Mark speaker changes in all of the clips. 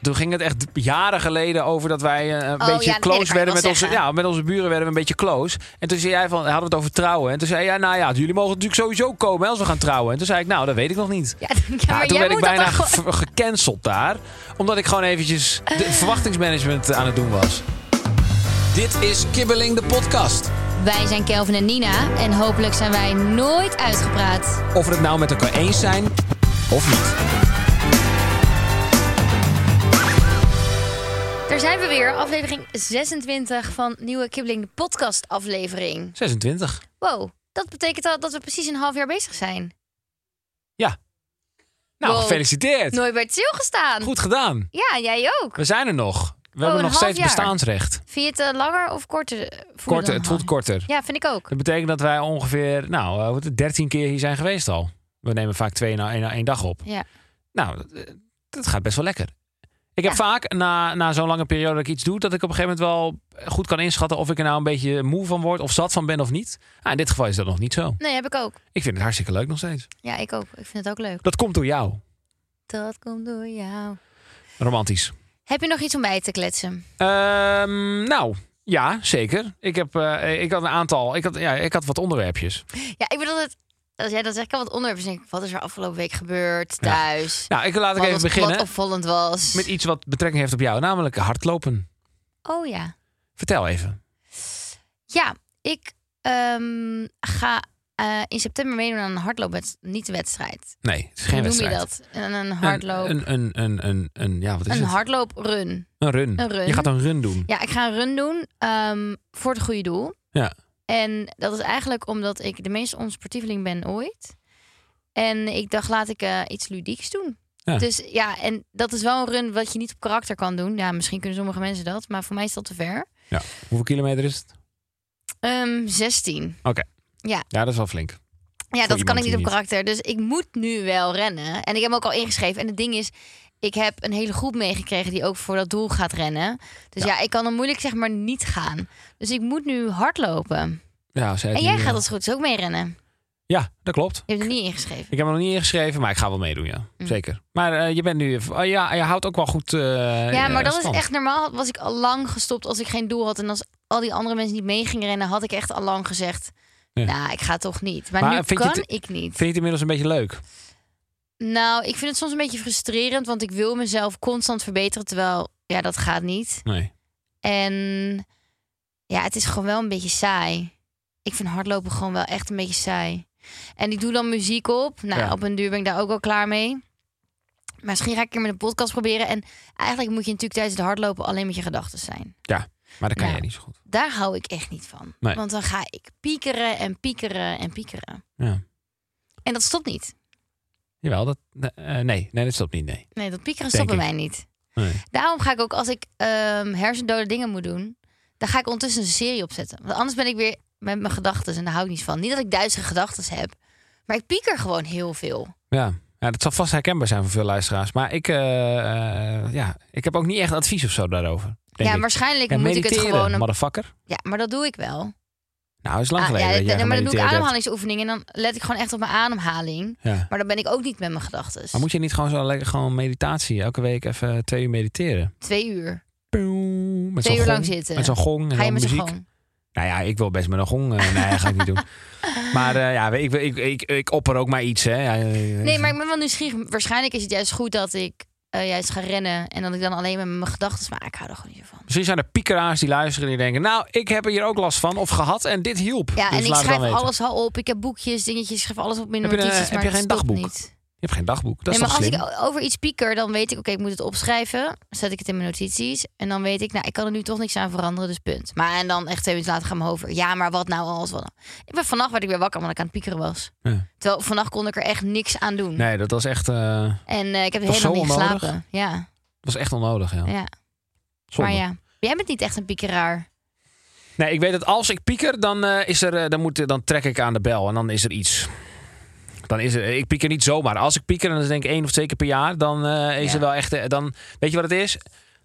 Speaker 1: Toen ging het echt jaren geleden over dat wij eh, een
Speaker 2: Oh, ja, dat
Speaker 1: beetje
Speaker 2: weet ik, kan
Speaker 1: close
Speaker 2: ik
Speaker 1: werden
Speaker 2: wel
Speaker 1: met onze,
Speaker 2: zeggen.
Speaker 1: ja, met onze buren. werden we een beetje close. En toen zei jij van, hadden we het over trouwen. En toen zei jij, nou ja, jullie mogen natuurlijk sowieso komen hè, als we gaan trouwen. En toen zei ik, nou, dat weet ik nog niet.
Speaker 2: Ja, ja,
Speaker 1: Ja,
Speaker 2: maar
Speaker 1: toen
Speaker 2: jij
Speaker 1: werd
Speaker 2: moet
Speaker 1: ik
Speaker 2: dat
Speaker 1: bijna
Speaker 2: dan gewoon- Eh.
Speaker 1: ge- gecanceld daar. Omdat ik gewoon eventjes de verwachtingsmanagement aan het doen was.
Speaker 3: Dit is Kibbeling de podcast.
Speaker 2: Wij zijn Kelvin en Nina en hopelijk zijn wij nooit uitgepraat.
Speaker 1: Of we het nou met elkaar eens zijn of niet.
Speaker 2: Daar zijn we weer, aflevering 26 van Nieuwe Kibbeling, de podcast aflevering.
Speaker 1: 26.
Speaker 2: Wow, dat betekent al dat we precies een half jaar bezig zijn.
Speaker 1: Ja. Nou,
Speaker 2: Wow.
Speaker 1: gefeliciteerd.
Speaker 2: Nooit bij het stilgestaan.
Speaker 1: Goed gedaan.
Speaker 2: Ja, jij ook.
Speaker 1: We zijn er nog. We
Speaker 2: Oh, een
Speaker 1: hebben nog
Speaker 2: half
Speaker 1: steeds
Speaker 2: jaar.
Speaker 1: bestaansrecht.
Speaker 2: Vind je het eh, langer of korter? eh, voelen
Speaker 1: Korter,
Speaker 2: dan
Speaker 1: het
Speaker 2: een
Speaker 1: voelt
Speaker 2: half?
Speaker 1: korter.
Speaker 2: Ja, vind ik ook.
Speaker 1: Dat betekent dat wij ongeveer, nou, eh, wat het, 13 keer hier zijn geweest al. We nemen vaak twee na één, na één dag op.
Speaker 2: Ja.
Speaker 1: Nou, dat, eh, dat gaat best wel lekker. Ik heb vaak na, na zo'n lange periode dat ik iets doe, dat ik op een gegeven moment wel goed kan inschatten of ik er nou een beetje moe van word of zat van ben of niet. Ah, in dit geval is dat nog niet zo.
Speaker 2: Nee, heb ik ook.
Speaker 1: Ik vind het hartstikke leuk nog steeds.
Speaker 2: Ja, ik ook. Ik vind het ook leuk.
Speaker 1: Dat komt door jou.
Speaker 2: Dat komt door jou.
Speaker 1: Romantisch.
Speaker 2: Heb je nog iets om bij te kletsen?
Speaker 1: Ehm, nou, ja, zeker. Ik, heb, eh, ik had een aantal. Ik had, ja, ik had wat onderwerpjes.
Speaker 2: Ja, ik bedoel het. Als jij dat zegt, ik kan wat onderwerpen denk ik, Wat is er afgelopen week gebeurd
Speaker 1: Ja.
Speaker 2: thuis?
Speaker 1: Nou, ik, laat ik
Speaker 2: wat,
Speaker 1: even beginnen
Speaker 2: Wat opvallend was.
Speaker 1: met iets wat betrekking heeft op jou, namelijk hardlopen.
Speaker 2: Oh ja.
Speaker 1: Vertel even.
Speaker 2: Ja, ik ehm, ga eh, in september meedoen aan een hardloopwedstrijd. Niet een wedstrijd.
Speaker 1: Nee, het is geen
Speaker 2: Hoe
Speaker 1: wedstrijd.
Speaker 2: noem je dat? Een, een hardloop. Een,
Speaker 1: Een, een, een, een, een- ja, wat is het?
Speaker 2: hardlooprun.
Speaker 1: Een run.
Speaker 2: een run.
Speaker 1: Je gaat een run doen.
Speaker 2: Ja, ik ga een run doen ehm, voor het goede doel.
Speaker 1: Ja.
Speaker 2: En dat is eigenlijk omdat ik de meest onsportieveling ben ooit. En ik dacht, laat ik eh, iets ludieks doen.
Speaker 1: Ja.
Speaker 2: Dus ja, en dat is wel een run wat je niet op karakter kan doen. Ja, misschien kunnen sommige mensen dat, maar voor mij is dat te ver.
Speaker 1: Hoeveel kilometer is het?
Speaker 2: Ehm 16.
Speaker 1: Ja, dat is wel flink.
Speaker 2: Ja, dat kan
Speaker 1: iemand
Speaker 2: ik niet
Speaker 1: die
Speaker 2: op
Speaker 1: niet-
Speaker 2: karakter. Dus ik moet nu wel rennen. En ik heb me ook al ingeschreven. En het ding is, ik heb een hele groep meegekregen die ook voor dat doel gaat rennen. Dus ja, ik kan dan moeilijk zeg maar niet gaan. Dus ik moet nu hardlopen.
Speaker 1: Ja, zei
Speaker 2: En
Speaker 1: het
Speaker 2: jij
Speaker 1: nu,
Speaker 2: gaat
Speaker 1: ja.
Speaker 2: als het goed is ook mee rennen.
Speaker 1: Ja, dat klopt.
Speaker 2: Je hebt er niet ingeschreven.
Speaker 1: Ik heb me nog niet ingeschreven, maar ik ga wel meedoen, ja.
Speaker 2: Mm.
Speaker 1: Zeker. Maar eh, je bent nu... oh ja, je houdt ook wel goed eh,
Speaker 2: Ja, maar
Speaker 1: eh,
Speaker 2: dat is
Speaker 1: stand.
Speaker 2: echt normaal. Was ik al lang gestopt als ik geen doel had. En als al die andere mensen niet mee gingen rennen, had ik echt al lang gezegd.
Speaker 1: Ja.
Speaker 2: Nou, ik ga toch niet. Maar,
Speaker 1: Maar
Speaker 2: nu
Speaker 1: vind je
Speaker 2: kan
Speaker 1: het-
Speaker 2: ik niet.
Speaker 1: Vind je het inmiddels een beetje leuk?
Speaker 2: Nou, ik vind het soms een beetje frustrerend, want ik wil mezelf constant verbeteren, terwijl ja, dat gaat niet.
Speaker 1: Nee.
Speaker 2: En ja, het is gewoon wel een beetje saai. Ik vind hardlopen gewoon wel echt een beetje saai. En ik doe dan muziek op. Nou,
Speaker 1: Ja.
Speaker 2: op een duur ben ik daar ook wel klaar mee. Maar misschien ga ik een keer met een podcast proberen. En eigenlijk moet je natuurlijk tijdens het hardlopen alleen met je gedachten zijn.
Speaker 1: Maar dat kan
Speaker 2: Ja.
Speaker 1: jij niet zo goed.
Speaker 2: Daar hou ik echt niet van.
Speaker 1: Nee.
Speaker 2: Want dan ga ik piekeren en piekeren en piekeren.
Speaker 1: Ja.
Speaker 2: En dat stopt niet.
Speaker 1: Jawel, dat... eh, nee, nee, dat stopt niet, nee.
Speaker 2: Nee, dat piekeren
Speaker 1: Denk
Speaker 2: stopt bij
Speaker 1: ik.
Speaker 2: mij niet.
Speaker 1: nee.
Speaker 2: Daarom ga ik ook als ik ehm hersendode dingen moet doen, dan ga ik ondertussen een serie opzetten. Want anders ben ik weer met mijn gedachten en daar hou ik niet van. Niet dat ik duizend gedachten heb, maar ik pieker gewoon heel veel.
Speaker 1: Ja. ja, dat zal vast herkenbaar zijn voor veel luisteraars. Maar ik, eh, eh, ja, ik heb ook niet echt advies of zo daarover. Denk
Speaker 2: ja,
Speaker 1: ik.
Speaker 2: waarschijnlijk
Speaker 1: Ja,
Speaker 2: moet ik
Speaker 1: mediteren,
Speaker 2: het gewoon. een-
Speaker 1: motherfucker.
Speaker 2: Ja, maar dat doe ik wel.
Speaker 1: Nou, is lang
Speaker 2: Ah,
Speaker 1: geleden
Speaker 2: ja,
Speaker 1: dat jij
Speaker 2: nee, maar dan doe ik
Speaker 1: gemediteerd hebt.
Speaker 2: ademhalingsoefeningen en dan let ik gewoon echt op mijn ademhaling.
Speaker 1: Ja.
Speaker 2: Maar dan ben ik ook niet met mijn gedachten.
Speaker 1: Maar moet je niet gewoon zo lekker gewoon meditatie elke week even twee uur mediteren?
Speaker 2: Twee uur.
Speaker 1: Poem, Met
Speaker 2: Twee
Speaker 1: zo'n
Speaker 2: uur
Speaker 1: gong,
Speaker 2: lang zitten.
Speaker 1: Met zo'n gong en
Speaker 2: Ga je
Speaker 1: dan
Speaker 2: met z'n
Speaker 1: muziek.
Speaker 2: gewoon.
Speaker 1: Nou ja, ik wil best met een gong. eh, nee, dat ga ik niet doen. Maar eh, ja, ik, ik, ik, ik opper ook maar iets. Hè. Ja, eh,
Speaker 2: Nee, maar ik ben wel nieuwsgierig. Waarschijnlijk is het juist goed dat ik eh, juist ga rennen en dat ik dan alleen met mijn gedachten. Maar ik hou er gewoon niet van.
Speaker 1: Misschien zijn er piekeraars die luisteren en die denken... nou, ik heb er hier ook last van of gehad en dit hielp.
Speaker 2: Ja,
Speaker 1: Dus laat
Speaker 2: en ik
Speaker 1: het dan
Speaker 2: schrijf
Speaker 1: weten.
Speaker 2: alles al op. Ik heb boekjes, dingetjes, ik schrijf alles op in
Speaker 1: Heb je
Speaker 2: mijn
Speaker 1: een-
Speaker 2: notities.
Speaker 1: heb
Speaker 2: maar
Speaker 1: je
Speaker 2: het
Speaker 1: geen
Speaker 2: stopt
Speaker 1: dagboek?
Speaker 2: Niet.
Speaker 1: Je hebt geen dagboek. Dat is
Speaker 2: nee,
Speaker 1: toch
Speaker 2: maar als
Speaker 1: slim?
Speaker 2: ik o- over iets pieker, dan weet ik, oké, ik moet het opschrijven. Zet ik het in mijn notities. En dan weet ik, nou, ik kan er nu toch niks aan veranderen, dus punt. Maar en dan echt twee minuten later gaan mijn hoofd weer. Ja, maar wat nou als wat nou? Ik ben vannacht werd ik weer wakker, omdat ik aan het piekeren was.
Speaker 1: Ja.
Speaker 2: Terwijl vannacht kon ik er echt niks aan doen.
Speaker 1: Nee, dat was echt, eh,
Speaker 2: En eh, ik heb
Speaker 1: Dat is
Speaker 2: helemaal
Speaker 1: zo
Speaker 2: niet
Speaker 1: onnodig.
Speaker 2: geslapen. Ja,
Speaker 1: was echt onnodig. Ja.
Speaker 2: ja.
Speaker 1: Zonde.
Speaker 2: Maar ja, jij bent niet echt een piekeraar.
Speaker 1: Nee, ik weet dat als ik pieker, dan, eh, is er, eh, dan, moet, dan trek ik aan de bel en dan is er iets. Dan is er, eh, ik pieker niet zomaar. Als ik pieker, en dat is denk ik één of twee keer per jaar, dan eh, is
Speaker 2: Ja.
Speaker 1: er wel echt. eh, dan, weet je wat het is?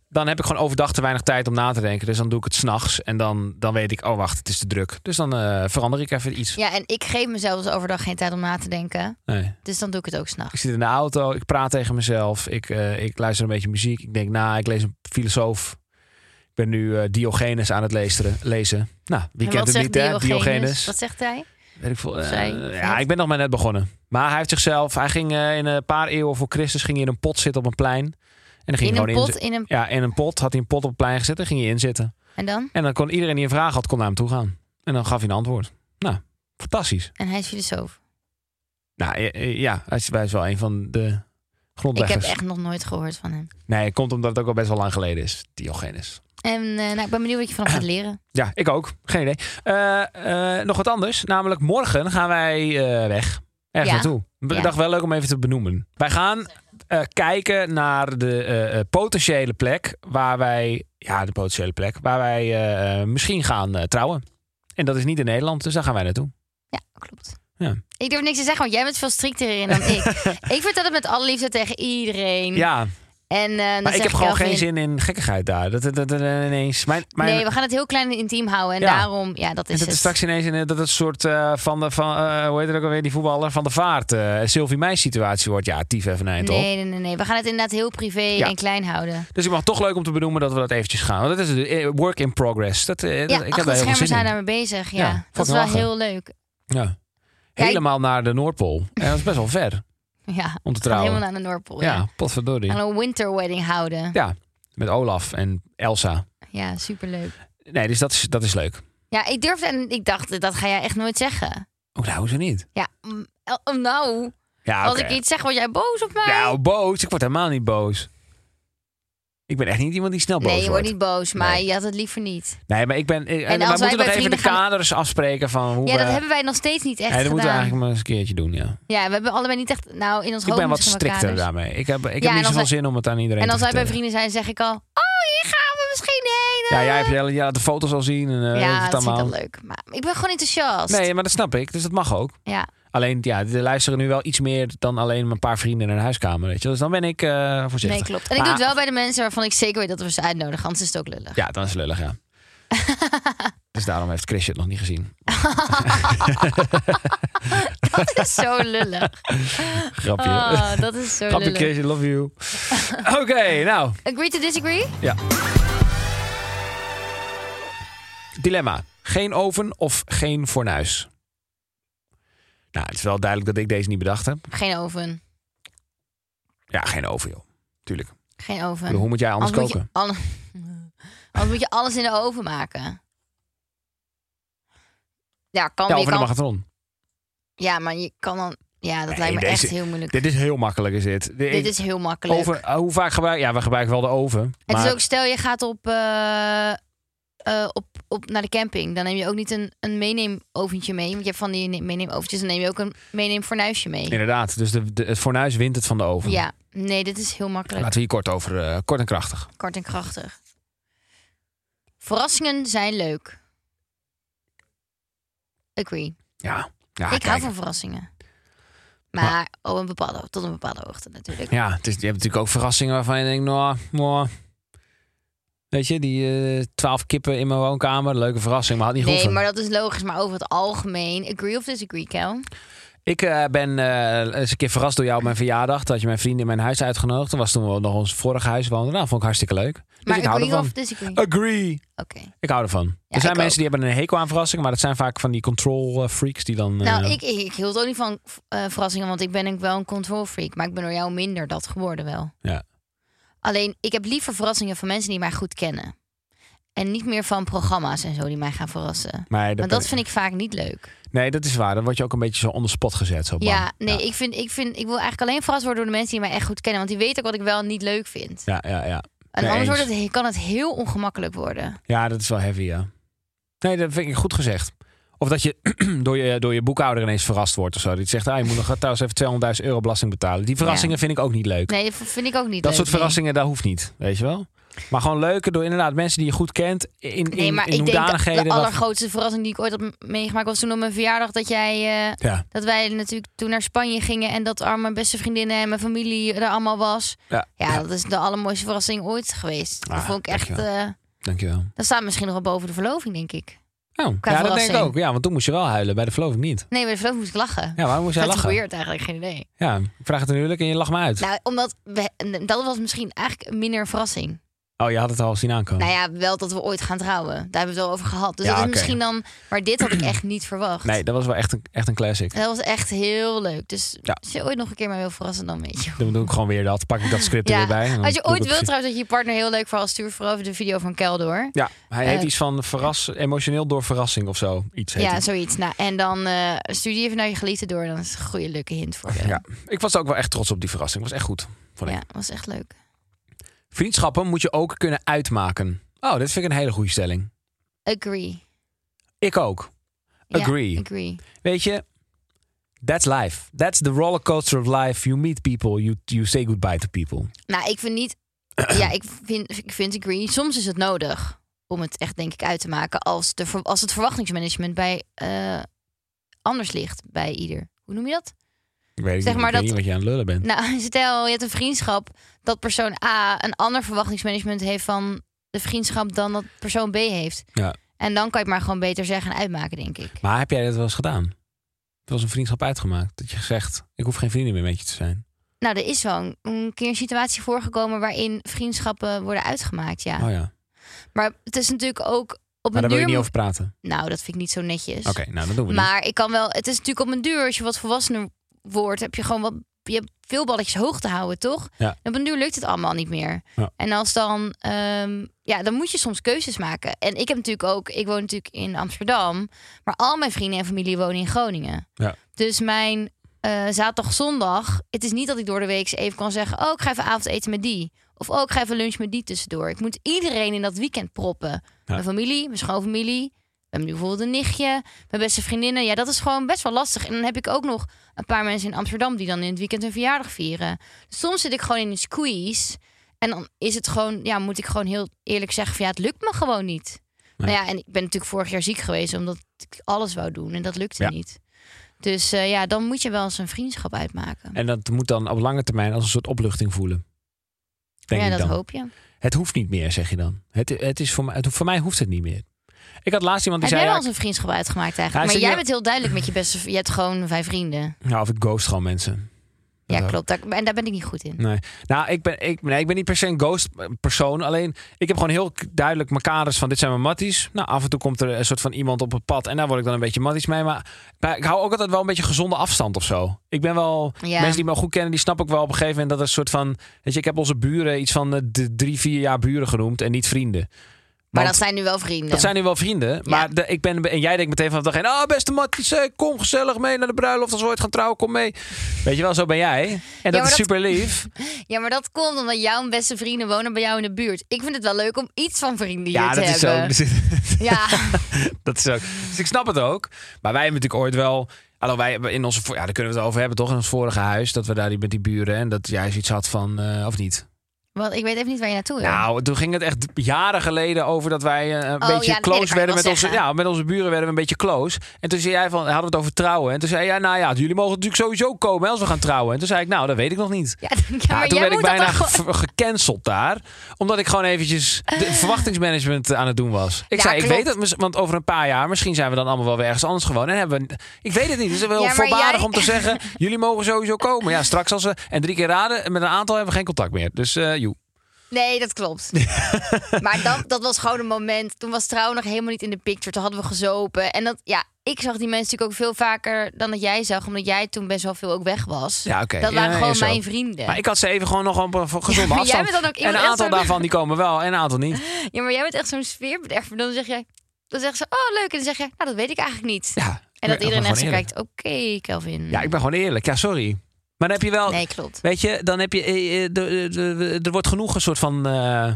Speaker 1: Dan heb ik gewoon overdag te weinig tijd om na te denken. Dus dan doe ik het s'nachts. En dan, dan weet ik, oh wacht, het is te druk. Dus dan eh, verander ik even iets.
Speaker 2: Ja, en ik geef mezelf dus overdag geen tijd om na te denken.
Speaker 1: Nee.
Speaker 2: Dus dan doe ik het ook s'nachts.
Speaker 1: Ik zit in de auto, ik praat tegen mezelf. Ik, eh, ik luister een beetje muziek. Ik denk, na, ik lees een filosoof. Ik ben nu eh, Diogenes aan het lezen. lezen. Nou, wie
Speaker 2: En
Speaker 1: kent
Speaker 2: wat
Speaker 1: het niet,
Speaker 2: zegt
Speaker 1: hè? Diogenes.
Speaker 2: Diogenes? Wat zegt hij?
Speaker 1: Weet ik veel,
Speaker 2: Of
Speaker 1: eh,
Speaker 2: zij,
Speaker 1: ja,
Speaker 2: vet.
Speaker 1: ik ben nog maar net begonnen. Maar hij heeft zichzelf, hij ging eh, in een paar eeuwen voor Christus ging hij in een pot zitten op een plein. En dan ging
Speaker 2: In
Speaker 1: hij
Speaker 2: een
Speaker 1: gewoon
Speaker 2: pot, in een...
Speaker 1: in. Ja, in een pot had hij een pot op een plein gezet en ging hij inzitten.
Speaker 2: En dan?
Speaker 1: En dan kon iedereen die een vraag had, kon naar hem toe gaan. En dan gaf hij een antwoord. Nou, fantastisch.
Speaker 2: En hij is filosoof.
Speaker 1: Nou eh, eh, ja, hij is, hij is wel een van de
Speaker 2: Ik heb
Speaker 1: grondleggers.
Speaker 2: echt nog nooit gehoord van hem.
Speaker 1: Nee, het komt omdat het ook al best wel lang geleden is, Diogenes.
Speaker 2: En eh, nou, ik ben benieuwd wat je van hem gaat leren.
Speaker 1: Ja, ik ook. Geen idee. Eh, eh, nog wat anders. Namelijk morgen gaan wij eh, weg. Ergens
Speaker 2: Ja.
Speaker 1: naartoe. Ik
Speaker 2: Ja.
Speaker 1: dacht wel leuk om even te benoemen. Wij gaan eh, kijken naar de eh, eh, potentiële plek waar wij... Ja, de potentiële plek. Waar wij eh, misschien gaan eh, trouwen. En dat is niet in Nederland, dus daar gaan wij naartoe.
Speaker 2: Ja, klopt.
Speaker 1: Ja.
Speaker 2: Ik durf niks te zeggen, want jij bent veel strikter in dan ik. ik vertel het met alle liefde tegen iedereen.
Speaker 1: Ja,
Speaker 2: En, eh, dan
Speaker 1: maar
Speaker 2: zeg
Speaker 1: ik heb gewoon
Speaker 2: Kelvin,
Speaker 1: geen zin in gekkigheid daar. Dat, dat, dat, dat- ineens... Mijn, mijn,
Speaker 2: Nee, we gaan het heel klein en intiem houden. En
Speaker 1: Ja.
Speaker 2: daarom, ja, dat is
Speaker 1: en dat
Speaker 2: het.
Speaker 1: is straks ineens een, dat het een soort eh, van, de, van eh, hoe heet het ook alweer, die voetballer van de vaart, eh Sylvie Meijs situatie wordt. Ja, tief even nee, toch?
Speaker 2: nee, nee, nee, nee. We gaan het inderdaad heel privé
Speaker 1: Ja.
Speaker 2: en klein houden.
Speaker 1: Dus ik mag toch leuk om te benoemen dat we dat eventjes gaan. Want dat is eh, work in progress. Dat, eh, dat-
Speaker 2: ja,
Speaker 1: ik heb
Speaker 2: achter
Speaker 1: daar
Speaker 2: de
Speaker 1: heel veel
Speaker 2: schermen
Speaker 1: zin
Speaker 2: zijn
Speaker 1: in.
Speaker 2: daarmee bezig. Ja,
Speaker 1: Ja, vond ik
Speaker 2: dat is wel
Speaker 1: lachen.
Speaker 2: heel leuk.
Speaker 1: Ja.
Speaker 2: Ja, ik-
Speaker 1: Helemaal naar de Noordpool. En dat is best wel ver om te
Speaker 2: Ja, we gaan
Speaker 1: trouwen.
Speaker 2: helemaal naar de Noordpool. Ja.
Speaker 1: Ja, potverdorie.
Speaker 2: En een winter wedding houden. Ja,
Speaker 1: Met Olaf en Elsa.
Speaker 2: superleuk.
Speaker 1: Nee, dus dat is, dat is leuk.
Speaker 2: Ja, ik durfde en ik dacht, dat ga jij echt nooit zeggen.
Speaker 1: Oh, nou, hoezo niet?
Speaker 2: Ja, mm, el- oh, nou.
Speaker 1: Ja,
Speaker 2: Als
Speaker 1: oké.
Speaker 2: ik iets zeg, word jij boos op mij?
Speaker 1: Nou, boos. Ik word helemaal niet boos. Ik ben echt niet iemand die snel boos
Speaker 2: nee, je wordt
Speaker 1: wordt.
Speaker 2: niet boos, maar
Speaker 1: Nee.
Speaker 2: je had het liever niet.
Speaker 1: Nee, maar ik ben... eh,
Speaker 2: als
Speaker 1: we
Speaker 2: wij
Speaker 1: moeten
Speaker 2: bij
Speaker 1: nog even de
Speaker 2: vrienden gaan-
Speaker 1: kaders afspreken van hoe
Speaker 2: Ja,
Speaker 1: we...
Speaker 2: dat hebben wij nog steeds niet echt
Speaker 1: Nee, dat moeten we
Speaker 2: gedaan.
Speaker 1: eigenlijk maar eens een keertje doen, ja.
Speaker 2: Ja, we hebben allebei niet echt... Nou, in ons
Speaker 1: Ik
Speaker 2: hoofd
Speaker 1: ben wat
Speaker 2: misschien wel
Speaker 1: strikter
Speaker 2: kaders.
Speaker 1: daarmee. Ik heb, ik
Speaker 2: dus- Ja,
Speaker 1: heb
Speaker 2: en
Speaker 1: niet
Speaker 2: als
Speaker 1: zoveel
Speaker 2: wij-
Speaker 1: zin om het aan iedereen
Speaker 2: En als
Speaker 1: te
Speaker 2: wij bij
Speaker 1: vertellen.
Speaker 2: vrienden zijn, zeg ik al... Oh, hier gaan we misschien heen.
Speaker 1: eh. Ja,
Speaker 2: eh.
Speaker 1: jij hebt je hele- ja, de foto's al zien. En, eh,
Speaker 2: Ja,
Speaker 1: het
Speaker 2: dat vind ik
Speaker 1: allemaal.
Speaker 2: wel leuk. Maar ik ben gewoon enthousiast.
Speaker 1: Nee, maar dat snap ik. Dus dat mag ook.
Speaker 2: Ja.
Speaker 1: Alleen, ja, er luisteren nu wel iets meer dan alleen mijn paar vrienden in een huiskamer. Weet je. Dus dan ben ik eh, voorzichtig.
Speaker 2: Nee, klopt. En ik
Speaker 1: Maar-
Speaker 2: doe het wel bij de mensen waarvan ik zeker weet dat we ze uitnodigen. Anders is het ook lullig.
Speaker 1: Ja, dan is het lullig, ja. dus daarom heeft Chris het nog niet gezien.
Speaker 2: Dat is zo lullig.
Speaker 1: Grapje.
Speaker 2: Oh, dat is zo
Speaker 1: Grapje,
Speaker 2: lullig.
Speaker 1: Chris, I love you. Oké, nou,
Speaker 2: Agree to disagree?
Speaker 1: dilemma. Geen oven of geen fornuis? Nou, het is wel duidelijk dat ik deze niet bedacht heb.
Speaker 2: Geen oven.
Speaker 1: Ja, geen oven, joh. Tuurlijk. Ik
Speaker 2: Geen oven.
Speaker 1: bedoel, hoe moet jij anders
Speaker 2: Anders
Speaker 1: koken?
Speaker 2: Moet je alle... Anders moet je alles in de oven maken. Ja, kan,
Speaker 1: Ja,
Speaker 2: maar
Speaker 1: of
Speaker 2: je
Speaker 1: in de
Speaker 2: kan,
Speaker 1: magnetron.
Speaker 2: ja, maar je kan dan... Ja, dat
Speaker 1: Nee,
Speaker 2: lijkt me
Speaker 1: deze-
Speaker 2: echt heel moeilijk. Dit,
Speaker 1: Dit is heel makkelijk, is dit. Ik-
Speaker 2: is heel makkelijk.
Speaker 1: Oven, eh, hoe vaak gebruiken? Ja, we gebruiken wel de oven.
Speaker 2: Het
Speaker 1: maar
Speaker 2: is ook, stel je gaat op, eh, eh, op, op naar de camping. Dan neem je ook niet een, een meeneemoventje mee. Want je hebt van die ne- meeneemoventjes. Dan neem je ook een meeneemfornuisje mee.
Speaker 1: inderdaad, dus de, de- het fornuis wint het van de oven.
Speaker 2: Ja, nee, dit is heel makkelijk.
Speaker 1: Laten we hier kort over, eh, kort en krachtig.
Speaker 2: Kort en krachtig. Verrassingen zijn leuk. Agree.
Speaker 1: Ja, ja
Speaker 2: ik
Speaker 1: Ah, kijk. Ah.
Speaker 2: hou van verrassingen. Maar op een bepaalde, tot een bepaalde hoogte natuurlijk.
Speaker 1: Ja, het is, je hebt natuurlijk ook verrassingen waarvan je denkt, nou, nou. Weet je, die eh, twaalf kippen in mijn woonkamer, leuke verrassing, maar had niet
Speaker 2: nee,
Speaker 1: gehoeven.
Speaker 2: maar dat is logisch. Maar over het algemeen, agree of disagree, Kel?
Speaker 1: Dus Ik eh, ben eh, eens een keer verrast door jou op mijn verjaardag. Dat je mijn vrienden in mijn huis uitgenodigd. Dat was toen we nog ons vorige huis woonden. Nou, vond ik hartstikke leuk. Dus
Speaker 2: Maar
Speaker 1: ik hou
Speaker 2: agree
Speaker 1: ervan. Oh.
Speaker 2: of disagree? Oké.
Speaker 1: Agree. Ik hou ervan. er zijn
Speaker 2: ik
Speaker 1: mensen
Speaker 2: ook.
Speaker 1: die hebben een hekel aan verrassingen, maar dat zijn vaak van die control eh, freaks die dan. eh,
Speaker 2: Nou, ik, ik, ik hield ook niet van eh, verrassingen, want ik ben ook wel een control freak. Maar ik ben door jou minder dat geworden wel.
Speaker 1: Ja.
Speaker 2: Alleen, ik heb liever verrassingen van mensen die mij goed kennen. En niet meer van programma's en zo die mij gaan verrassen.
Speaker 1: Maar
Speaker 2: Want dat vind ik vaak niet leuk.
Speaker 1: Nee, dat is waar. Dan word je ook een beetje zo on the spot gezet. Zo bam.
Speaker 2: Ja, nee,
Speaker 1: Ja.
Speaker 2: Ik, vind, ik, vind, ik wil eigenlijk alleen verrast worden door de mensen die mij echt goed kennen. Want die weten ook wat ik wel en niet leuk vind.
Speaker 1: Ja, ja, ja.
Speaker 2: En
Speaker 1: Nee,
Speaker 2: anders
Speaker 1: eens.
Speaker 2: wordt het, kan het heel ongemakkelijk worden.
Speaker 1: Ja, dat is wel heavy, ja. Nee, dat vind ik goed gezegd. Of dat je door je, door je boekhouder ineens verrast wordt of zo. Die zegt, ah, je moet nog trouwens even 200.000 euro belasting betalen. Die verrassingen vind ik ook niet leuk.
Speaker 2: Nee, dat vind ik ook
Speaker 1: dat
Speaker 2: niet leuk.
Speaker 1: soort
Speaker 2: nee.
Speaker 1: verrassingen, dat hoeft niet, weet je wel. Maar gewoon leuke door inderdaad mensen die je goed kent. In, in,
Speaker 2: Nee, maar
Speaker 1: in
Speaker 2: ik denk dat
Speaker 1: hoedanigheden.
Speaker 2: de
Speaker 1: wat-
Speaker 2: allergrootste verrassing die ik ooit had m- meegemaakt was toen op mijn verjaardag dat jij eh,
Speaker 1: Ja,
Speaker 2: dat wij natuurlijk toen naar Spanje gingen en dat al mijn beste vriendinnen en mijn familie er allemaal was.
Speaker 1: ja,
Speaker 2: Ja, dat is de allermooiste verrassing ooit geweest.
Speaker 1: Ah,
Speaker 2: dat vond ik echt.
Speaker 1: dankjewel.
Speaker 2: eh,
Speaker 1: dankjewel.
Speaker 2: dat staat misschien nog wel boven de verloving, denk ik.
Speaker 1: Oh,
Speaker 2: Qua
Speaker 1: ja, dat denk ik
Speaker 2: verrassing.
Speaker 1: ook. Ja, want toen moest je wel huilen, bij de verloving niet.
Speaker 2: Nee, bij de verloving moest ik lachen.
Speaker 1: Ja, waarom moest jij
Speaker 2: dat is
Speaker 1: lachen?
Speaker 2: weird eigenlijk, geen idee.
Speaker 1: Ja, ik vraag het een huwelijk en je lacht me uit.
Speaker 2: Nou, omdat we, dat was misschien eigenlijk minder een verrassing.
Speaker 1: oh, je had het al zien aankomen.
Speaker 2: Nou ja, wel dat we ooit gaan trouwen. Daar hebben we het wel over gehad. Dus
Speaker 1: Ja,
Speaker 2: dat is
Speaker 1: oké.
Speaker 2: misschien dan. Maar dit had ik echt niet verwacht.
Speaker 1: nee, dat was wel echt een, echt een classic.
Speaker 2: Dat was echt heel leuk. Dus
Speaker 1: Ja.
Speaker 2: als je ooit nog een keer mij wil verrassen, dan weet je.
Speaker 1: Dan doe ik gewoon weer dat. Pak ik dat script er
Speaker 2: Ja,
Speaker 1: weer bij. en dan
Speaker 2: Als je
Speaker 1: doe ik
Speaker 2: ooit
Speaker 1: het
Speaker 2: wilt
Speaker 1: precies.
Speaker 2: trouwens dat je je partner heel leuk verrast, stuur vooral even de video van Kel door.
Speaker 1: Ja, hij heet
Speaker 2: Eh,
Speaker 1: iets van verras, emotioneel door verrassing of zo. Iets heet
Speaker 2: ja,
Speaker 1: hij.
Speaker 2: zoiets. Nou, en dan eh stuur die even naar je geliefde door. Dan is het een goede leuke hint voor je.
Speaker 1: Ja. Ik was ook wel echt trots op die verrassing. was echt goed. Vond ik.
Speaker 2: Ja, was echt leuk.
Speaker 1: Vriendschappen moet je ook kunnen uitmaken. Oh, dit vind ik een hele goede stelling.
Speaker 2: Agree.
Speaker 1: Ik ook.
Speaker 2: Ja,
Speaker 1: Agree.
Speaker 2: agree.
Speaker 1: Weet je, that's life. That's the rollercoaster of life. You meet people, you, you say goodbye to people.
Speaker 2: Nou, ik vind niet... ja, ik vind, ik vind agree. Soms is het nodig om het echt, denk ik, uit te maken... als, de, ver- als het verwachtingsmanagement bij eh, anders ligt bij ieder. Hoe noem je dat?
Speaker 1: Ik weet,
Speaker 2: Zeg
Speaker 1: niet- ik weet
Speaker 2: maar dat-
Speaker 1: niet wat je aan het lullen bent.
Speaker 2: Nou, stel je hebt een vriendschap dat persoon A een ander verwachtingsmanagement heeft van de vriendschap dan dat persoon B heeft.
Speaker 1: Ja.
Speaker 2: En dan kan je het maar gewoon beter zeggen en uitmaken, denk ik.
Speaker 1: Maar heb jij dat wel eens gedaan? Het was een vriendschap uitgemaakt. Dat je gezegd, ik hoef geen vrienden meer met je te zijn.
Speaker 2: Nou, er is wel een, een keer een situatie voorgekomen waarin vriendschappen worden uitgemaakt, ja.
Speaker 1: Oh ja.
Speaker 2: Maar het is natuurlijk ook op
Speaker 1: Maar
Speaker 2: een
Speaker 1: daar wil je
Speaker 2: duur...
Speaker 1: niet over praten.
Speaker 2: Nou, dat vind ik niet zo netjes.
Speaker 1: Oké, nou dat doen we
Speaker 2: maar ik kan wel... Het is natuurlijk op een duur, als je wat volwassener wordt, heb je gewoon wat... Je hebt veel balletjes hoog te houden, toch?
Speaker 1: Ja.
Speaker 2: En op een duur lukt het allemaal niet meer.
Speaker 1: Ja.
Speaker 2: En als dan... ehm, ja, dan moet je soms keuzes maken. En ik heb natuurlijk ook... Ik woon natuurlijk in Amsterdam. Maar al mijn vrienden en familie wonen in Groningen.
Speaker 1: Ja.
Speaker 2: Dus mijn eh, zaterdag, zondag... Het is niet dat ik door de week eens even kan zeggen... Oh, ik ga even avondeten met die. Of oh, ik ga even lunch met die tussendoor. Ik moet iedereen in dat weekend proppen. Mijn familie, mijn schoonfamilie... We hebben nu bijvoorbeeld een nichtje, mijn beste vriendinnen. Ja, dat is gewoon best wel lastig. En dan heb ik ook nog een paar mensen in Amsterdam die dan in het weekend hun verjaardag vieren. Dus Soms zit ik gewoon in een squeeze. En dan is het gewoon, ja, moet ik gewoon heel eerlijk zeggen: van ja, het lukt me gewoon niet.
Speaker 1: Nee.
Speaker 2: Nou ja, en ik ben natuurlijk vorig jaar ziek geweest omdat ik alles wou doen en dat lukte
Speaker 1: Ja.
Speaker 2: niet. Dus eh, ja, dan moet je wel eens een vriendschap uitmaken.
Speaker 1: En dat moet dan op lange termijn als een soort opluchting voelen. Denk
Speaker 2: ja,
Speaker 1: ik
Speaker 2: dat
Speaker 1: dan.
Speaker 2: hoop je.
Speaker 1: Het hoeft niet meer, zeg je dan. Het, het is voor, mij, het, voor mij hoeft het niet meer. Ik had laatst iemand
Speaker 2: Heb
Speaker 1: die zei...
Speaker 2: jij wel
Speaker 1: ja,
Speaker 2: eens een vriendschap uitgemaakt
Speaker 1: Ja, ik
Speaker 2: eigenlijk? maar
Speaker 1: zeg
Speaker 2: jij
Speaker 1: niet-
Speaker 2: bent heel duidelijk met je beste. Je hebt gewoon vijf vrienden.
Speaker 1: ik- nou, of ik ghost gewoon mensen.
Speaker 2: Ja,
Speaker 1: Dat-
Speaker 2: klopt. Daar- En daar ben ik niet goed in.
Speaker 1: Nee. Nou, ik ben, ik, nee, ik ben niet per se een ghost persoon. Alleen, ik heb gewoon heel k- duidelijk mijn kaders van dit zijn mijn matties. Nou, af en toe komt er een soort van iemand op het pad. En daar word ik dan een beetje matties mee. Maar maar ik hou ook altijd wel een beetje gezonde afstand of zo. Ik ben wel...
Speaker 2: Ja.
Speaker 1: Mensen die me goed kennen, die snap ik wel op een gegeven moment. Dat er een soort van... Weet je, ik heb onze buren iets van eh, d- drie, vier jaar buren genoemd. En niet vrienden.
Speaker 2: Maar
Speaker 1: Want-
Speaker 2: dat zijn nu wel vrienden.
Speaker 1: Dat zijn nu wel vrienden, maar de- ik ben, en jij denkt meteen vanaf dag één... Ah, beste Matties, eh, kom gezellig mee naar de bruiloft. Als we ooit gaan trouwen, kom mee. Weet je wel, zo ben jij. En dat
Speaker 2: maar
Speaker 1: is
Speaker 2: dat-
Speaker 1: super lief.
Speaker 2: Ja, maar dat komt omdat jouw beste vrienden wonen bij jou in de buurt. Ik vind het wel leuk om iets van vrienden hier
Speaker 1: Ja,
Speaker 2: te
Speaker 1: dat is, zo,
Speaker 2: hebben. Ja,
Speaker 1: dat is ook. Dus ik snap het ook. Maar wij hebben natuurlijk ooit wel... Hallo, wij hebben in onze... vo- Ja, daar kunnen we het over hebben, toch? In ons vorige huis, dat we daar die, met die buren... en dat jij zoiets had van... eh, of niet?
Speaker 2: want ik weet even niet waar je naartoe wil.
Speaker 1: Nou, toen ging het echt jaren geleden over dat wij eh, een
Speaker 2: Oh,
Speaker 1: beetje
Speaker 2: ja, nee, dat kan
Speaker 1: close
Speaker 2: je
Speaker 1: werden
Speaker 2: wel
Speaker 1: met onze,
Speaker 2: zeggen.
Speaker 1: ja, met onze buren werden we een beetje close. En toen zei jij van, hadden we het over trouwen. En toen zei jij, nou ja, jullie mogen natuurlijk sowieso komen hè, als we gaan trouwen. En toen zei ik, nou, dat weet ik nog niet.
Speaker 2: ja, denk ik, ja,
Speaker 1: Ja,
Speaker 2: maar
Speaker 1: toen
Speaker 2: jij
Speaker 1: werd
Speaker 2: moet
Speaker 1: ik bijna
Speaker 2: dat toch gewoon...
Speaker 1: ge- gecanceld daar. Omdat ik gewoon eventjes de verwachtingsmanagement eh, aan het doen was. Ik
Speaker 2: Ja,
Speaker 1: zei, ik
Speaker 2: klopt.
Speaker 1: weet het, mis- want over een paar jaar misschien zijn we dan allemaal wel weer ergens anders gewoon. En hebben we, ik weet het niet. Het is wel
Speaker 2: Ja, maar
Speaker 1: voorbarig
Speaker 2: jij-
Speaker 1: om te zeggen, jullie mogen sowieso komen. Ja, straks als we, en drie keer raden, met een aantal hebben we geen contact meer. Dus, eh joe.
Speaker 2: Nee, dat klopt. maar dan, dat was gewoon een moment. Toen was trouwen nog helemaal niet in de picture. Toen hadden we gezopen. En dat, ja, ik zag die mensen natuurlijk ook veel vaker dan dat jij zag. Omdat jij toen best wel veel ook weg was.
Speaker 1: Ja, oké.
Speaker 2: Dat waren
Speaker 1: Ja,
Speaker 2: gewoon
Speaker 1: ja, zo.
Speaker 2: mijn vrienden.
Speaker 1: Maar ik had ze even gewoon nog op een gezonde
Speaker 2: Ja, maar jij
Speaker 1: afstand.
Speaker 2: bent dan ook
Speaker 1: en
Speaker 2: iemand
Speaker 1: een
Speaker 2: echt
Speaker 1: aantal
Speaker 2: zo'n-
Speaker 1: daarvan die komen wel en een aantal niet.
Speaker 2: Ja, maar jij bent echt zo'n sfeerverderver. Dan zeg jij... Dan zeggen ze, oh leuk. En dan zeg je, nou dat weet ik eigenlijk niet.
Speaker 1: Ja, ik ben-
Speaker 2: en
Speaker 1: ik
Speaker 2: dat
Speaker 1: ben
Speaker 2: iedereen
Speaker 1: gewoon
Speaker 2: echt zo
Speaker 1: eerlijk.
Speaker 2: kijkt, oké Kelvin.
Speaker 1: Ja, ik ben gewoon eerlijk. Ja, sorry. Maar dan heb je wel...
Speaker 2: Nee, klopt.
Speaker 1: Weet je, dan heb je... eh, eh, de- de- de- Er wordt genoeg een soort van... eh,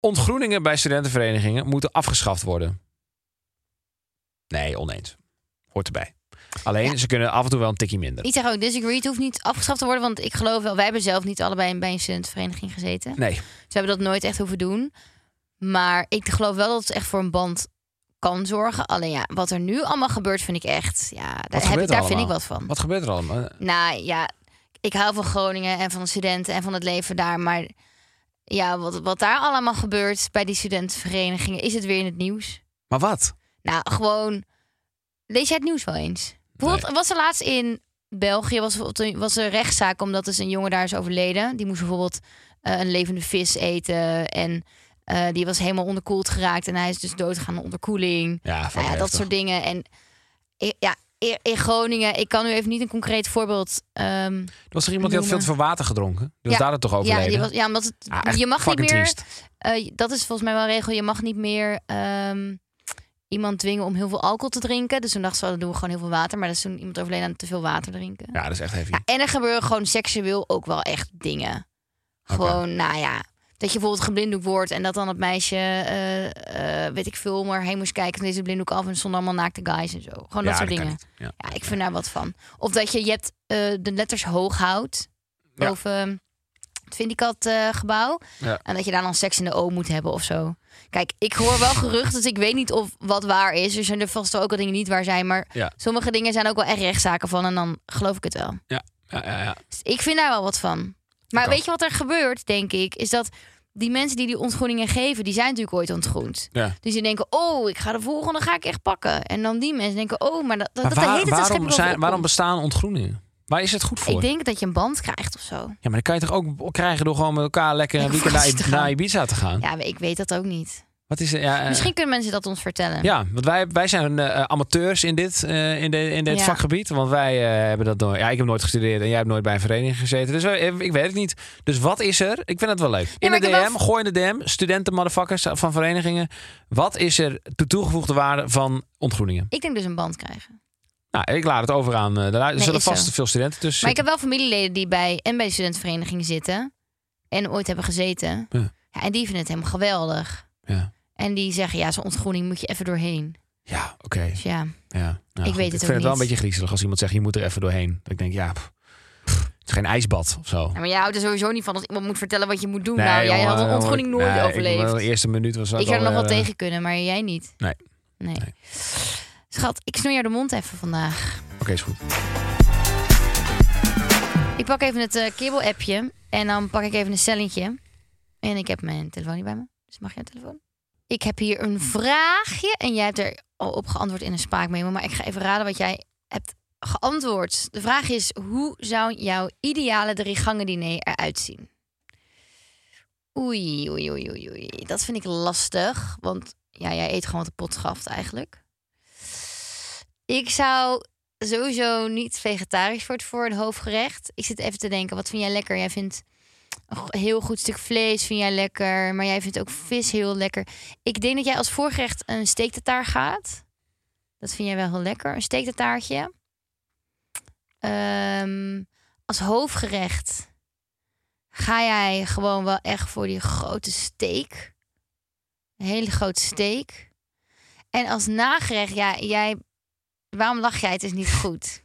Speaker 1: Ontgroeningen bij studentenverenigingen moeten afgeschaft worden. Nee, oneens. Hoort erbij. Alleen, ze kunnen af en toe wel een tikje minder.
Speaker 2: Ik zeg ook, disagree. Het hoeft niet afgeschaft te worden. Want ik geloof wel, wij hebben zelf niet allebei bij een studentenvereniging gezeten.
Speaker 1: Nee,
Speaker 2: Ze hebben dat nooit echt hoeven doen. Maar ik geloof wel dat het echt voor een band kan zorgen. Alleen ja, wat er nu allemaal gebeurt, vind ik echt. Ja, daar,
Speaker 1: gebeurt
Speaker 2: heb
Speaker 1: er
Speaker 2: ik, daar vind
Speaker 1: allemaal?
Speaker 2: ik wat van.
Speaker 1: wat gebeurt er allemaal?
Speaker 2: Nou ja, ik hou van Groningen en van de studenten en van het leven daar. Maar ja, wat, wat daar allemaal gebeurt bij die studentenverenigingen, is het weer in het nieuws.
Speaker 1: Maar wat?
Speaker 2: Nou, gewoon. Lees jij het nieuws wel eens? Bijvoorbeeld, was er laatst in België was, bijvoorbeeld- was er rechtszaak omdat dus een jongen daar is overleden. Die moest bijvoorbeeld eh, een levende vis eten. En eh, die was helemaal onderkoeld geraakt. En hij is dus doodgegaan aan onderkoeling.
Speaker 1: Ja,
Speaker 2: Nou ja, dat soort dingen. En eh, ja, in- in Dingen. ik kan nu even niet een concreet voorbeeld. ehm,
Speaker 1: Er was er iemand die had veel
Speaker 2: noemen.
Speaker 1: te veel water gedronken? Die was
Speaker 2: Ja.
Speaker 1: daar dan toch
Speaker 2: ja,
Speaker 1: overleden?
Speaker 2: die was, ja, omdat het,
Speaker 1: Ah, echt
Speaker 2: je mag niet
Speaker 1: fucking
Speaker 2: meer.
Speaker 1: triest.
Speaker 2: Eh, dat is volgens mij wel een regel. Je mag niet meer ehm, iemand dwingen om heel veel alcohol te drinken. Dus toen dachten ze, oh, dan doen we gewoon heel veel water. Maar dat is toen iemand overleden aan te veel water drinken.
Speaker 1: Ja, dat is echt heavy.
Speaker 2: Ja, en er gebeuren gewoon seksueel ook wel echt dingen. Gewoon, nou ja. Dat je bijvoorbeeld geblinddoekt wordt en dat dan het meisje, eh, eh, weet ik veel, maar heen moest kijken. En deze blinddoek af en er stonden allemaal naakte guys en zo. Gewoon dat
Speaker 1: Ja,
Speaker 2: soort
Speaker 1: kan
Speaker 2: dingen.
Speaker 1: niet. Ja.
Speaker 2: Ja, ik vind daar wat van. Of dat je, je hebt eh, de letters hoog houdt
Speaker 1: Ja.
Speaker 2: boven het Vindicat eh, gebouw.
Speaker 1: Ja.
Speaker 2: En dat je daar dan seks in de O moet hebben of zo. Kijk, ik hoor wel geruchten, dus ik weet niet of wat waar is. Er zijn er vast wel ook wel dingen die niet waar zijn. Maar
Speaker 1: Ja.
Speaker 2: sommige dingen zijn ook wel echt rechtszaken van. En dan geloof ik het wel.
Speaker 1: Ja, ja, ja.
Speaker 2: Dus ik vind daar wel wat van. Maar
Speaker 1: Ik
Speaker 2: weet
Speaker 1: ook.
Speaker 2: je wat er gebeurt, denk ik? Is dat die mensen die die ontgroeningen geven, die zijn natuurlijk ooit ontgroend.
Speaker 1: Ja.
Speaker 2: Dus die denken, oh, ik ga de volgende ga ik echt pakken. En dan die mensen denken, oh, maar dat, dat,
Speaker 1: Maar
Speaker 2: dat
Speaker 1: waar-
Speaker 2: heet het een schepje
Speaker 1: waarom,
Speaker 2: bovenop
Speaker 1: zijn, waarom
Speaker 2: komt.
Speaker 1: bestaan ontgroeningen? Waar is het goed voor?
Speaker 2: Ik denk dat je een band krijgt of zo.
Speaker 1: Ja, maar dan kan je toch ook krijgen door gewoon met elkaar lekker een
Speaker 2: Lekker
Speaker 1: weekend naar,
Speaker 2: vakantie te
Speaker 1: Ib-
Speaker 2: gaan.
Speaker 1: naar Ibiza te gaan.
Speaker 2: Ja, maar ik weet dat ook niet.
Speaker 1: Wat is er? Ja, eh,
Speaker 2: Misschien kunnen mensen dat ons vertellen.
Speaker 1: Ja, want wij, wij zijn eh, amateurs in dit, eh, in de, in dit
Speaker 2: Ja.
Speaker 1: vakgebied. Want wij eh, hebben dat nooit. Ja, ik heb nooit gestudeerd en jij hebt nooit bij een vereniging gezeten. Dus eh, ik weet het niet. Dus wat is er? Ik vind het wel leuk. In
Speaker 2: maar
Speaker 1: de
Speaker 2: ik heb
Speaker 1: DM,
Speaker 2: wel-
Speaker 1: gooi in de DM, studenten motherfuckers van verenigingen. Wat is er de toegevoegde waarde van ontgroeningen?
Speaker 2: Ik denk dus een band krijgen.
Speaker 1: Nou, ik laat het over aan. eh, de lu- er
Speaker 2: Nee,
Speaker 1: zullen
Speaker 2: is zo.
Speaker 1: vast veel studenten tussen.
Speaker 2: Maar ik heb wel familieleden die bij en bij de studentenvereniging zitten. En ooit hebben gezeten.
Speaker 1: Ja.
Speaker 2: Ja, en die vinden het helemaal geweldig.
Speaker 1: zitten. Ja,
Speaker 2: En die zeggen, ja, zo'n ontgroening moet je even doorheen.
Speaker 1: ja oké.
Speaker 2: Dus ja,
Speaker 1: Ja, nou,
Speaker 2: Ik
Speaker 1: goed.
Speaker 2: weet het
Speaker 1: ik
Speaker 2: ook
Speaker 1: vind het wel een
Speaker 2: niet.
Speaker 1: beetje griezelig als iemand zegt: je moet er even doorheen. Dat ik denk, ja, pff, pff, het is geen ijsbad of zo.
Speaker 2: Ja, maar jij houdt er sowieso niet van als iemand moet vertellen wat je moet doen.
Speaker 1: Nee,
Speaker 2: nou, jij
Speaker 1: jongen,
Speaker 2: had een
Speaker 1: jongen,
Speaker 2: ontgroening nooit
Speaker 1: nee, ik-
Speaker 2: overleefd.
Speaker 1: de eerste minuut was
Speaker 2: Ik zou er nog wel
Speaker 1: alweer, eh,
Speaker 2: tegen kunnen, maar jij niet.
Speaker 1: Nee.
Speaker 2: Nee.
Speaker 1: Nee.
Speaker 2: Schat, ik snoei jou de mond even vandaag.
Speaker 1: Oké, is goed.
Speaker 2: Ik pak even het eh kibbel-appje en dan pak ik even een stellingje. En ik heb mijn telefoon niet bij me, dus mag jij telefoon? Ik heb hier een vraagje en jij hebt er al op geantwoord in een spaakmemo. Maar ik ga even raden wat jij hebt geantwoord. De vraag is, hoe zou jouw ideale drie gangen diner eruit zien? Oei, oei, oei, oei, oei. Dat vind ik lastig, want ja, jij eet gewoon wat de pot schaft eigenlijk. Ik zou sowieso niet vegetarisch voor het voor een hoofdgerecht. Ik zit even te denken, wat vind jij lekker? Jij vindt een go- heel goed stuk vlees, vind jij lekker. Maar jij vindt ook vis heel lekker. Ik denk dat jij als voorgerecht een steektataar gaat. Dat vind jij wel heel lekker, een steektataartje. Ehm, als hoofdgerecht ga jij gewoon wel echt voor die grote steak. Een hele grote steak. En als nagerecht, ja, jij... Waarom lach jij? Het is niet goed.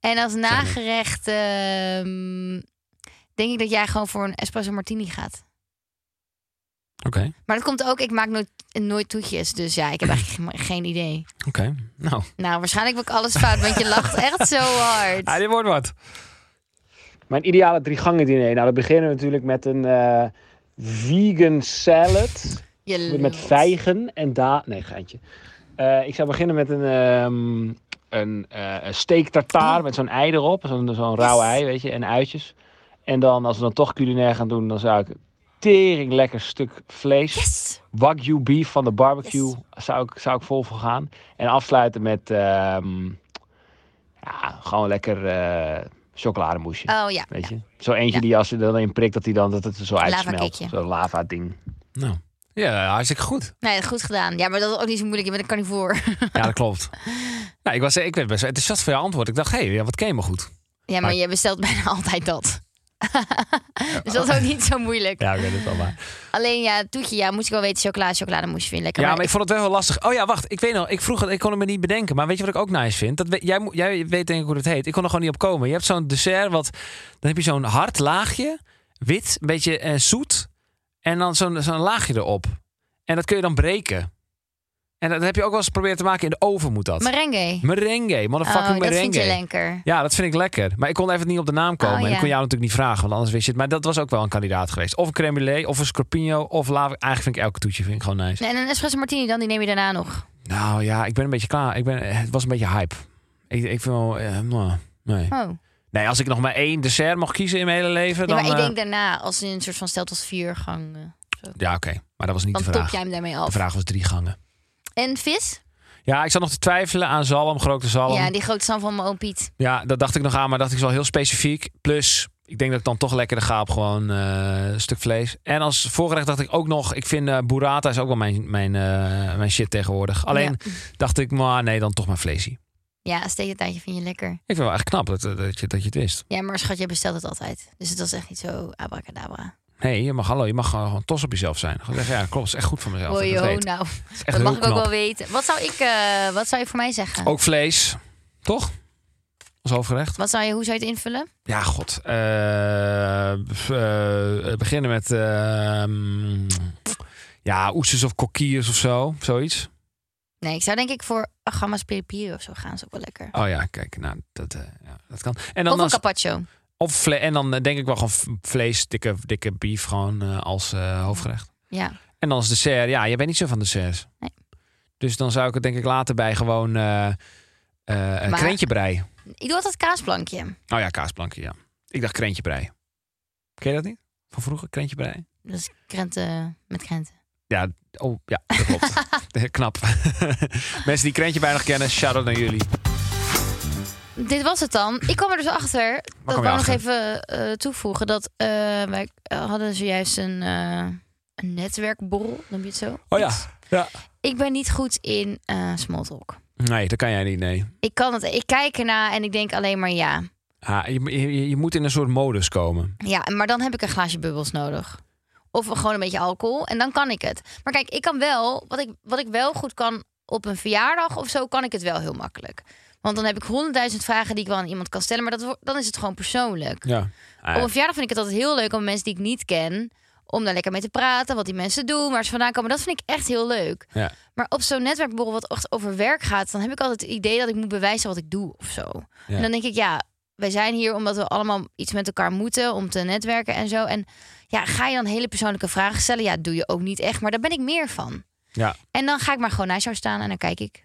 Speaker 2: En als nagerecht ehm, denk ik dat jij gewoon voor een espresso martini gaat.
Speaker 1: Oké,
Speaker 2: Maar dat komt ook, ik maak nooit, nooit toetjes. Dus ja, ik heb eigenlijk geen- geen idee.
Speaker 1: oké. Nou,
Speaker 2: Nou, waarschijnlijk heb ik alles fout, want je lacht echt zo hard.
Speaker 1: ah, dit wordt wat.
Speaker 4: Mijn ideale drie gangen diner. Nou, dan beginnen we natuurlijk met een eh, vegan salad.
Speaker 2: Je
Speaker 4: Met
Speaker 2: lult.
Speaker 4: vijgen en da... Nee, geintje. Eh, ik zou beginnen met een, ehm, een eh, een steak tartaar met zo'n ei erop. Zo'n zo'n rauw ei, weet je, en uitjes. En dan, als we dan toch culinair gaan doen, dan zou ik tering lekker stuk vlees.
Speaker 2: Yes!
Speaker 4: Wagyu beef van de barbecue zou, ik, zou ik vol voor gaan. En afsluiten met ehm, ja, gewoon lekker eh chocolademoesje.
Speaker 2: Oh ja.
Speaker 4: Weet je? Zo eentje die als je er dan in prikt, dat, die dan, dat het er zo uitsmelt.
Speaker 2: Lavakeekje.
Speaker 4: Zo'n lava ding.
Speaker 1: Nou, ja, hartstikke goed.
Speaker 2: Nee, goed gedaan. Ja, maar dat is ook niet zo moeilijk. Je bent een carnivore.
Speaker 1: Ja, dat klopt. nou, ik, was, ik werd best wel enthousiast voor jouw antwoord. Ik dacht, hé, hey, ja, wat ken je me goed.
Speaker 2: Ja, maar
Speaker 1: Maar-
Speaker 2: je bestelt bijna altijd dat. dus dat is ook niet zo moeilijk.
Speaker 1: Ja, ik weet het wel maar.
Speaker 2: Alleen ja, toetje, ja, moet ik wel weten, chocola, chocolade moest je vinden lekker.
Speaker 1: Ja, maar ik vond het wel heel lastig. Oh ja, wacht. Ik weet nog, ik vroeg het, ik kon het me niet bedenken. Maar weet je wat ik ook nice vind? Dat we- jij, moet- jij weet denk ik hoe dat heet. Ik kon er gewoon niet op komen. Je hebt zo'n dessert, wat, dan heb je zo'n hard laagje. Wit, een beetje eh, zoet. En dan zo'n zo'n laagje erop. En dat kun je dan breken. En dat heb je ook wel eens geprobeerd te maken. In de oven moet dat.
Speaker 2: Merengue.
Speaker 1: Merengue, motherfucking
Speaker 2: Oh, dat
Speaker 1: merengue.
Speaker 2: vind je lekker.
Speaker 1: Ja, dat vind ik lekker. Maar ik kon even niet op de naam komen.
Speaker 2: Oh,
Speaker 1: En ik
Speaker 2: ja.
Speaker 1: kon jou natuurlijk niet vragen, want anders wist je het. Maar dat was ook wel een kandidaat geweest. Of een crème brûlée, of een scorpino, of lava. Eigenlijk vind ik elke toetje vind ik gewoon nice.
Speaker 2: Nee, En een espresso martini dan, die neem je daarna nog.
Speaker 1: Nou ja, ik ben een beetje klaar. Ik ben, eh, het was een beetje hype. Ik, ik vind wel... eh, nou, nee.
Speaker 2: Oh. Nee,
Speaker 1: nee, als ik nog maar één dessert mocht kiezen in mijn hele leven, dan...
Speaker 2: maar ik
Speaker 1: eh,
Speaker 2: denk daarna, als in een soort van stelt als vier gang. eh,
Speaker 1: Ja, oké. Maar dat was niet
Speaker 2: Dan
Speaker 1: de
Speaker 2: top
Speaker 1: vraag.
Speaker 2: jij hem daarmee
Speaker 1: De
Speaker 2: af.
Speaker 1: vraag was drie gangen.
Speaker 2: En vis?
Speaker 1: Ja, ik zat nog te twijfelen aan zalm, grote zalm.
Speaker 2: Ja, die grote zalm van mijn oom Piet.
Speaker 1: Ja, dat dacht ik nog aan, maar dacht ik zo heel specifiek. Plus, ik denk dat ik dan toch lekkerder ga op gewoon eh, een stuk vlees. En als voorgerecht dacht ik ook nog, ik vind eh burrata is ook wel mijn, mijn, eh, mijn shit tegenwoordig. Alleen dacht ik, maar nee, dan toch maar vleesie.
Speaker 2: Ja, een steekentaartje vind je lekker.
Speaker 1: Ik vind wel echt knap dat, dat, je, dat je het wist.
Speaker 2: Ja, maar schat, jij bestelt het altijd. Dus het was echt niet zo abracadabra.
Speaker 1: Nee, je mag, hallo, je mag gewoon gewoon trots op jezelf zijn. Gewoon zeggen, ja, klopt, is echt goed voor mezelf.
Speaker 2: Oh
Speaker 1: dat ik dat
Speaker 2: joh,
Speaker 1: weet.
Speaker 2: nou,
Speaker 1: Het is echt
Speaker 2: dat mag
Speaker 1: heel
Speaker 2: ik ook
Speaker 1: knap.
Speaker 2: wel weten. Wat zou ik, eh, wat zou je voor mij zeggen?
Speaker 1: Ook vlees, toch? Als hoofdgerecht.
Speaker 2: Wat zou je, hoe zou je het invullen?
Speaker 1: Ja, god. Eh, eh, beginnen met... eh, mm, ja, oesters of kokkiers of zo. Zoiets.
Speaker 2: Nee, ik zou denk ik voor gamma's peripiri of zo gaan. is ook wel lekker.
Speaker 1: Oh ja, kijk. Nou, dat, eh, ja, dat kan. En
Speaker 2: Of
Speaker 1: dan,
Speaker 2: een
Speaker 1: als,
Speaker 2: carpaccio.
Speaker 1: of vle- en dan eh, denk ik wel gewoon v- vlees, dikke, dikke beef gewoon eh, als eh, hoofdgerecht.
Speaker 2: Ja.
Speaker 1: En dan als dessert. Ja, jij bent niet zo van desserts.
Speaker 2: Nee.
Speaker 1: Dus dan zou ik het denk ik later bij gewoon eh eh, een
Speaker 2: Maar-
Speaker 1: krentje brei.
Speaker 2: Ik doe altijd kaasplankje.
Speaker 1: Oh ja, kaasplankje, ja. Ik dacht krentje brei. Ken je dat niet? Van vroeger, krentje brei?
Speaker 2: Dat is Dus krenten met krenten.
Speaker 1: Oh, ja, dat klopt. Eh, Knap. Mensen die krentje bijna kennen, shout-out naar jullie.
Speaker 2: Dit was het dan. Ik kwam er dus achter. Dat
Speaker 1: je
Speaker 2: wou ik nog
Speaker 1: achter?
Speaker 2: even eh, toevoegen. Dat eh, wij hadden zojuist een, eh een netwerkborrel. Noem je het zo?
Speaker 1: Oh ja,
Speaker 2: Iets.
Speaker 1: ja.
Speaker 2: Ik ben niet goed in eh small talk.
Speaker 1: Nee, dat kan jij niet, nee.
Speaker 2: Ik kan het. Ik kijk erna en ik denk alleen maar ja.
Speaker 1: Ha, je, je, je moet in een soort modus komen.
Speaker 2: Ja, maar dan heb ik een glaasje bubbels nodig. Of gewoon een beetje alcohol. En dan kan ik het. Maar kijk, ik kan wel, wat ik, wat ik wel goed kan op een verjaardag of zo, kan ik het wel heel makkelijk. Want dan heb ik honderdduizend vragen die ik wel aan iemand kan stellen. Maar dat, wo- dan is het gewoon persoonlijk.
Speaker 1: Ja. Ah,
Speaker 2: Op een verjaardag vind ik het altijd heel leuk om mensen die ik niet ken... om daar lekker mee te praten, wat die mensen doen, waar ze vandaan komen. Dat vind ik echt heel leuk.
Speaker 1: Ja.
Speaker 2: Maar op zo'n netwerkborrel wat echt over werk gaat... dan heb ik altijd het idee dat ik moet bewijzen wat ik doe of zo.
Speaker 1: Ja.
Speaker 2: En dan denk ik, ja, wij zijn hier omdat we allemaal iets met elkaar moeten... om te netwerken en zo. En ja, ga je dan hele persoonlijke vragen stellen? Ja, dat doe je ook niet echt, maar daar ben ik meer van.
Speaker 1: ja.
Speaker 2: En dan ga ik maar gewoon naast jou staan en dan kijk ik.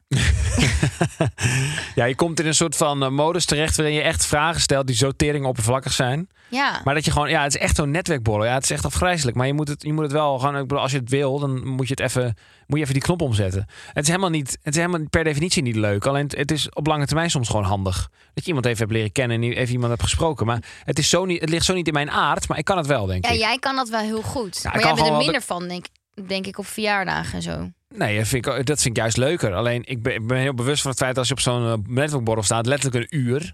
Speaker 1: Ja, je komt in een soort van eh, modus terecht waarin je echt vragen stelt die zo tering oppervlakkig zijn.
Speaker 2: Ja.
Speaker 1: Maar dat je gewoon, ja, het is echt zo'n netwerkborrel. Ja, het is echt afgrijzelijk. Maar je moet het, je moet het wel gewoon, ik bedoel, als je het wil, dan moet je het even, moet je even die knop omzetten. Het is helemaal niet, het is helemaal per definitie niet leuk. Alleen het, het is op lange termijn soms gewoon handig. Dat je iemand even hebt leren kennen en nu even iemand hebt gesproken. Maar het, is zo niet, het ligt zo niet in mijn aard, maar ik kan het wel, denk
Speaker 2: ja,
Speaker 1: ik.
Speaker 2: jij kan dat wel heel goed.
Speaker 1: Ja, ik kan
Speaker 2: maar jij bent er
Speaker 1: gewoon wel
Speaker 2: minder van, denk, denk ik, op verjaardagen en zo.
Speaker 1: Nee, dat vind, ik, dat vind ik juist leuker. Alleen ik ben, ik ben heel bewust van het feit dat als je op zo'n eh, netwerkborrel staat, letterlijk een uur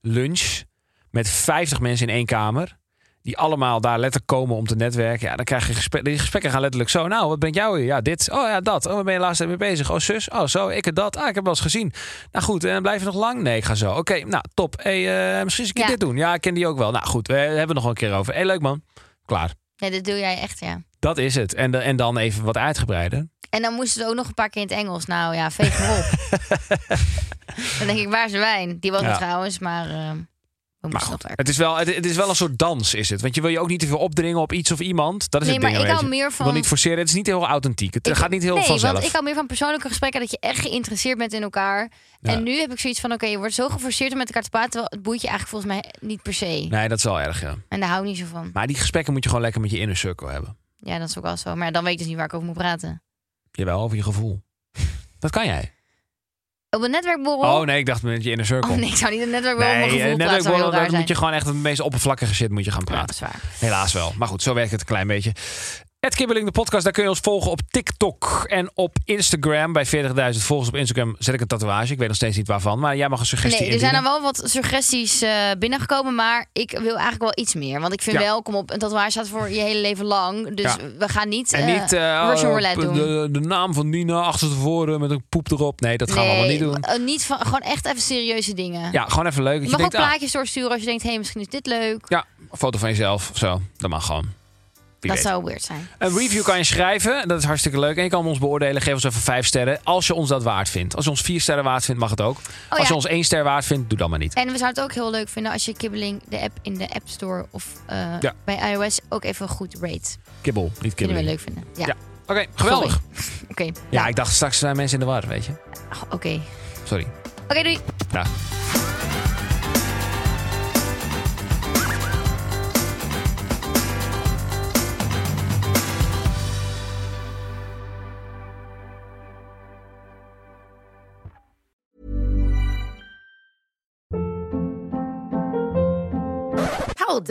Speaker 1: lunch met 50 mensen in één kamer. Die allemaal daar letterlijk komen om te netwerken. Ja, dan krijg je gesprekken. Die gesprekken gaan letterlijk zo. Nou, wat brengt jou hier? Ja, dit. Oh ja, dat. Oh, waar ben je laatst mee bezig? Oh, zus. Oh, zo. Ik heb dat. Ah, ik heb wel eens gezien. Nou goed, en blijf je nog lang? Nee, ik ga zo. Oké, nou top. Hey, eh, misschien eens een keer
Speaker 2: Ja.
Speaker 1: dit doen. Ja, ik ken die ook wel. Nou goed, we hebben het nog wel een keer over. Hey, leuk man. Klaar.
Speaker 2: Ja, dat doe jij echt, ja.
Speaker 1: Dat is het. En, de- en dan even wat uitgebreider.
Speaker 2: En dan moesten ze ook nog een paar keer in het Engels. Nou ja, veeg me op. dan denk ik, waar is de wijn? Die was
Speaker 1: Ja.
Speaker 2: er trouwens, maar eh, we
Speaker 1: Maar
Speaker 2: moesten nog
Speaker 1: goed,
Speaker 2: werken.
Speaker 1: het is, wel, het, het is wel een soort dans, is het? Want je wil je ook niet te veel opdringen op iets of iemand. Dat is
Speaker 2: Nee,
Speaker 1: het ding.
Speaker 2: maar ik
Speaker 1: een
Speaker 2: hou
Speaker 1: beetje.
Speaker 2: meer
Speaker 1: Je wil
Speaker 2: van...
Speaker 1: niet forceren. Het is niet heel authentiek. Het
Speaker 2: ik-
Speaker 1: gaat niet heel
Speaker 2: nee,
Speaker 1: vanzelf.
Speaker 2: want ik hou meer van persoonlijke gesprekken. Dat je echt geïnteresseerd bent in elkaar.
Speaker 1: Ja.
Speaker 2: En nu heb ik zoiets van, oké, je wordt zo geforceerd om met elkaar te praten. Terwijl het boeit je eigenlijk volgens mij niet per se.
Speaker 1: Nee, dat is wel erg, ja.
Speaker 2: En daar hou ik niet zo van.
Speaker 1: Maar die gesprekken moet je gewoon lekker met je inner circle hebben.
Speaker 2: Ja, dat is ook wel zo. Maar ja, dan weet ik dus niet waar ik over moet praten.
Speaker 1: Jawel, over je gevoel. Dat kan jij.
Speaker 2: Op een netwerkborrel?
Speaker 1: Oh nee, ik dacht met je inner circle.
Speaker 2: Oh nee, ik zou niet een netwerkborrel
Speaker 1: Nee,
Speaker 2: op mijn
Speaker 1: eh,
Speaker 2: gevoel
Speaker 1: net
Speaker 2: praten.
Speaker 1: ook
Speaker 2: Zou
Speaker 1: wel,
Speaker 2: heel raar
Speaker 1: dan
Speaker 2: zijn.
Speaker 1: moet je gewoon echt het meest oppervlakkige shit moet je gaan
Speaker 2: Ja, dat
Speaker 1: praten.
Speaker 2: is waar.
Speaker 1: Helaas wel. Maar goed, zo werkt het een klein beetje. Het Kibbeling, de podcast, daar kun je ons volgen op TikTok en op Instagram. Bij 40.000 volgers op Instagram zet ik een tatoeage. Ik weet nog steeds niet waarvan, maar jij mag een suggestie
Speaker 2: Nee, er
Speaker 1: indienen.
Speaker 2: zijn al wel wat suggesties eh, binnengekomen, maar ik wil eigenlijk wel iets meer. Want ik vind
Speaker 1: Ja.
Speaker 2: wel, kom op, een tatoeage staat voor je hele leven lang. Dus
Speaker 1: Ja.
Speaker 2: we gaan niet,
Speaker 1: En
Speaker 2: eh,
Speaker 1: niet eh,
Speaker 2: Russian
Speaker 1: oh,
Speaker 2: roulette doen.
Speaker 1: De, de naam van Nina achter tevoren met een poep erop. Nee, dat gaan we allemaal
Speaker 2: nee,
Speaker 1: niet doen.
Speaker 2: eh, niet van, gewoon echt even serieuze dingen.
Speaker 1: Ja, gewoon even leuk. Dat
Speaker 2: je
Speaker 1: je,
Speaker 2: mag ook
Speaker 1: denkt, ah,
Speaker 2: plaatjes doorsturen als je denkt, hé, hey, misschien is dit leuk.
Speaker 1: ja, een foto van jezelf of zo. Dat mag gewoon. Wie
Speaker 2: dat
Speaker 1: weet.
Speaker 2: zou weird zijn.
Speaker 1: Een review kan je schrijven. Dat is hartstikke leuk. En je kan ons beoordelen. Geef ons even vijf sterren. Als je ons dat waard vindt. Als je ons vier sterren waard vindt, mag het ook.
Speaker 2: Oh
Speaker 1: Als je
Speaker 2: ja,
Speaker 1: ons één ster waard vindt, doe dan maar niet.
Speaker 2: en we zouden het ook heel leuk vinden als je Kibbeling, de app in de App Store of eh,
Speaker 1: Ja.
Speaker 2: bij iOS, ook even goed rate.
Speaker 1: Kibbel, niet
Speaker 2: Kunnen we
Speaker 1: kibbel.
Speaker 2: leuk vinden. Ja,
Speaker 1: Ja. Oké, geweldig.
Speaker 2: oké.
Speaker 1: Ja,
Speaker 2: Nou,
Speaker 1: ik dacht straks zijn mensen in de war, weet je.
Speaker 2: Oké, oké
Speaker 1: Sorry.
Speaker 2: doei.
Speaker 1: Dag.
Speaker 5: Hold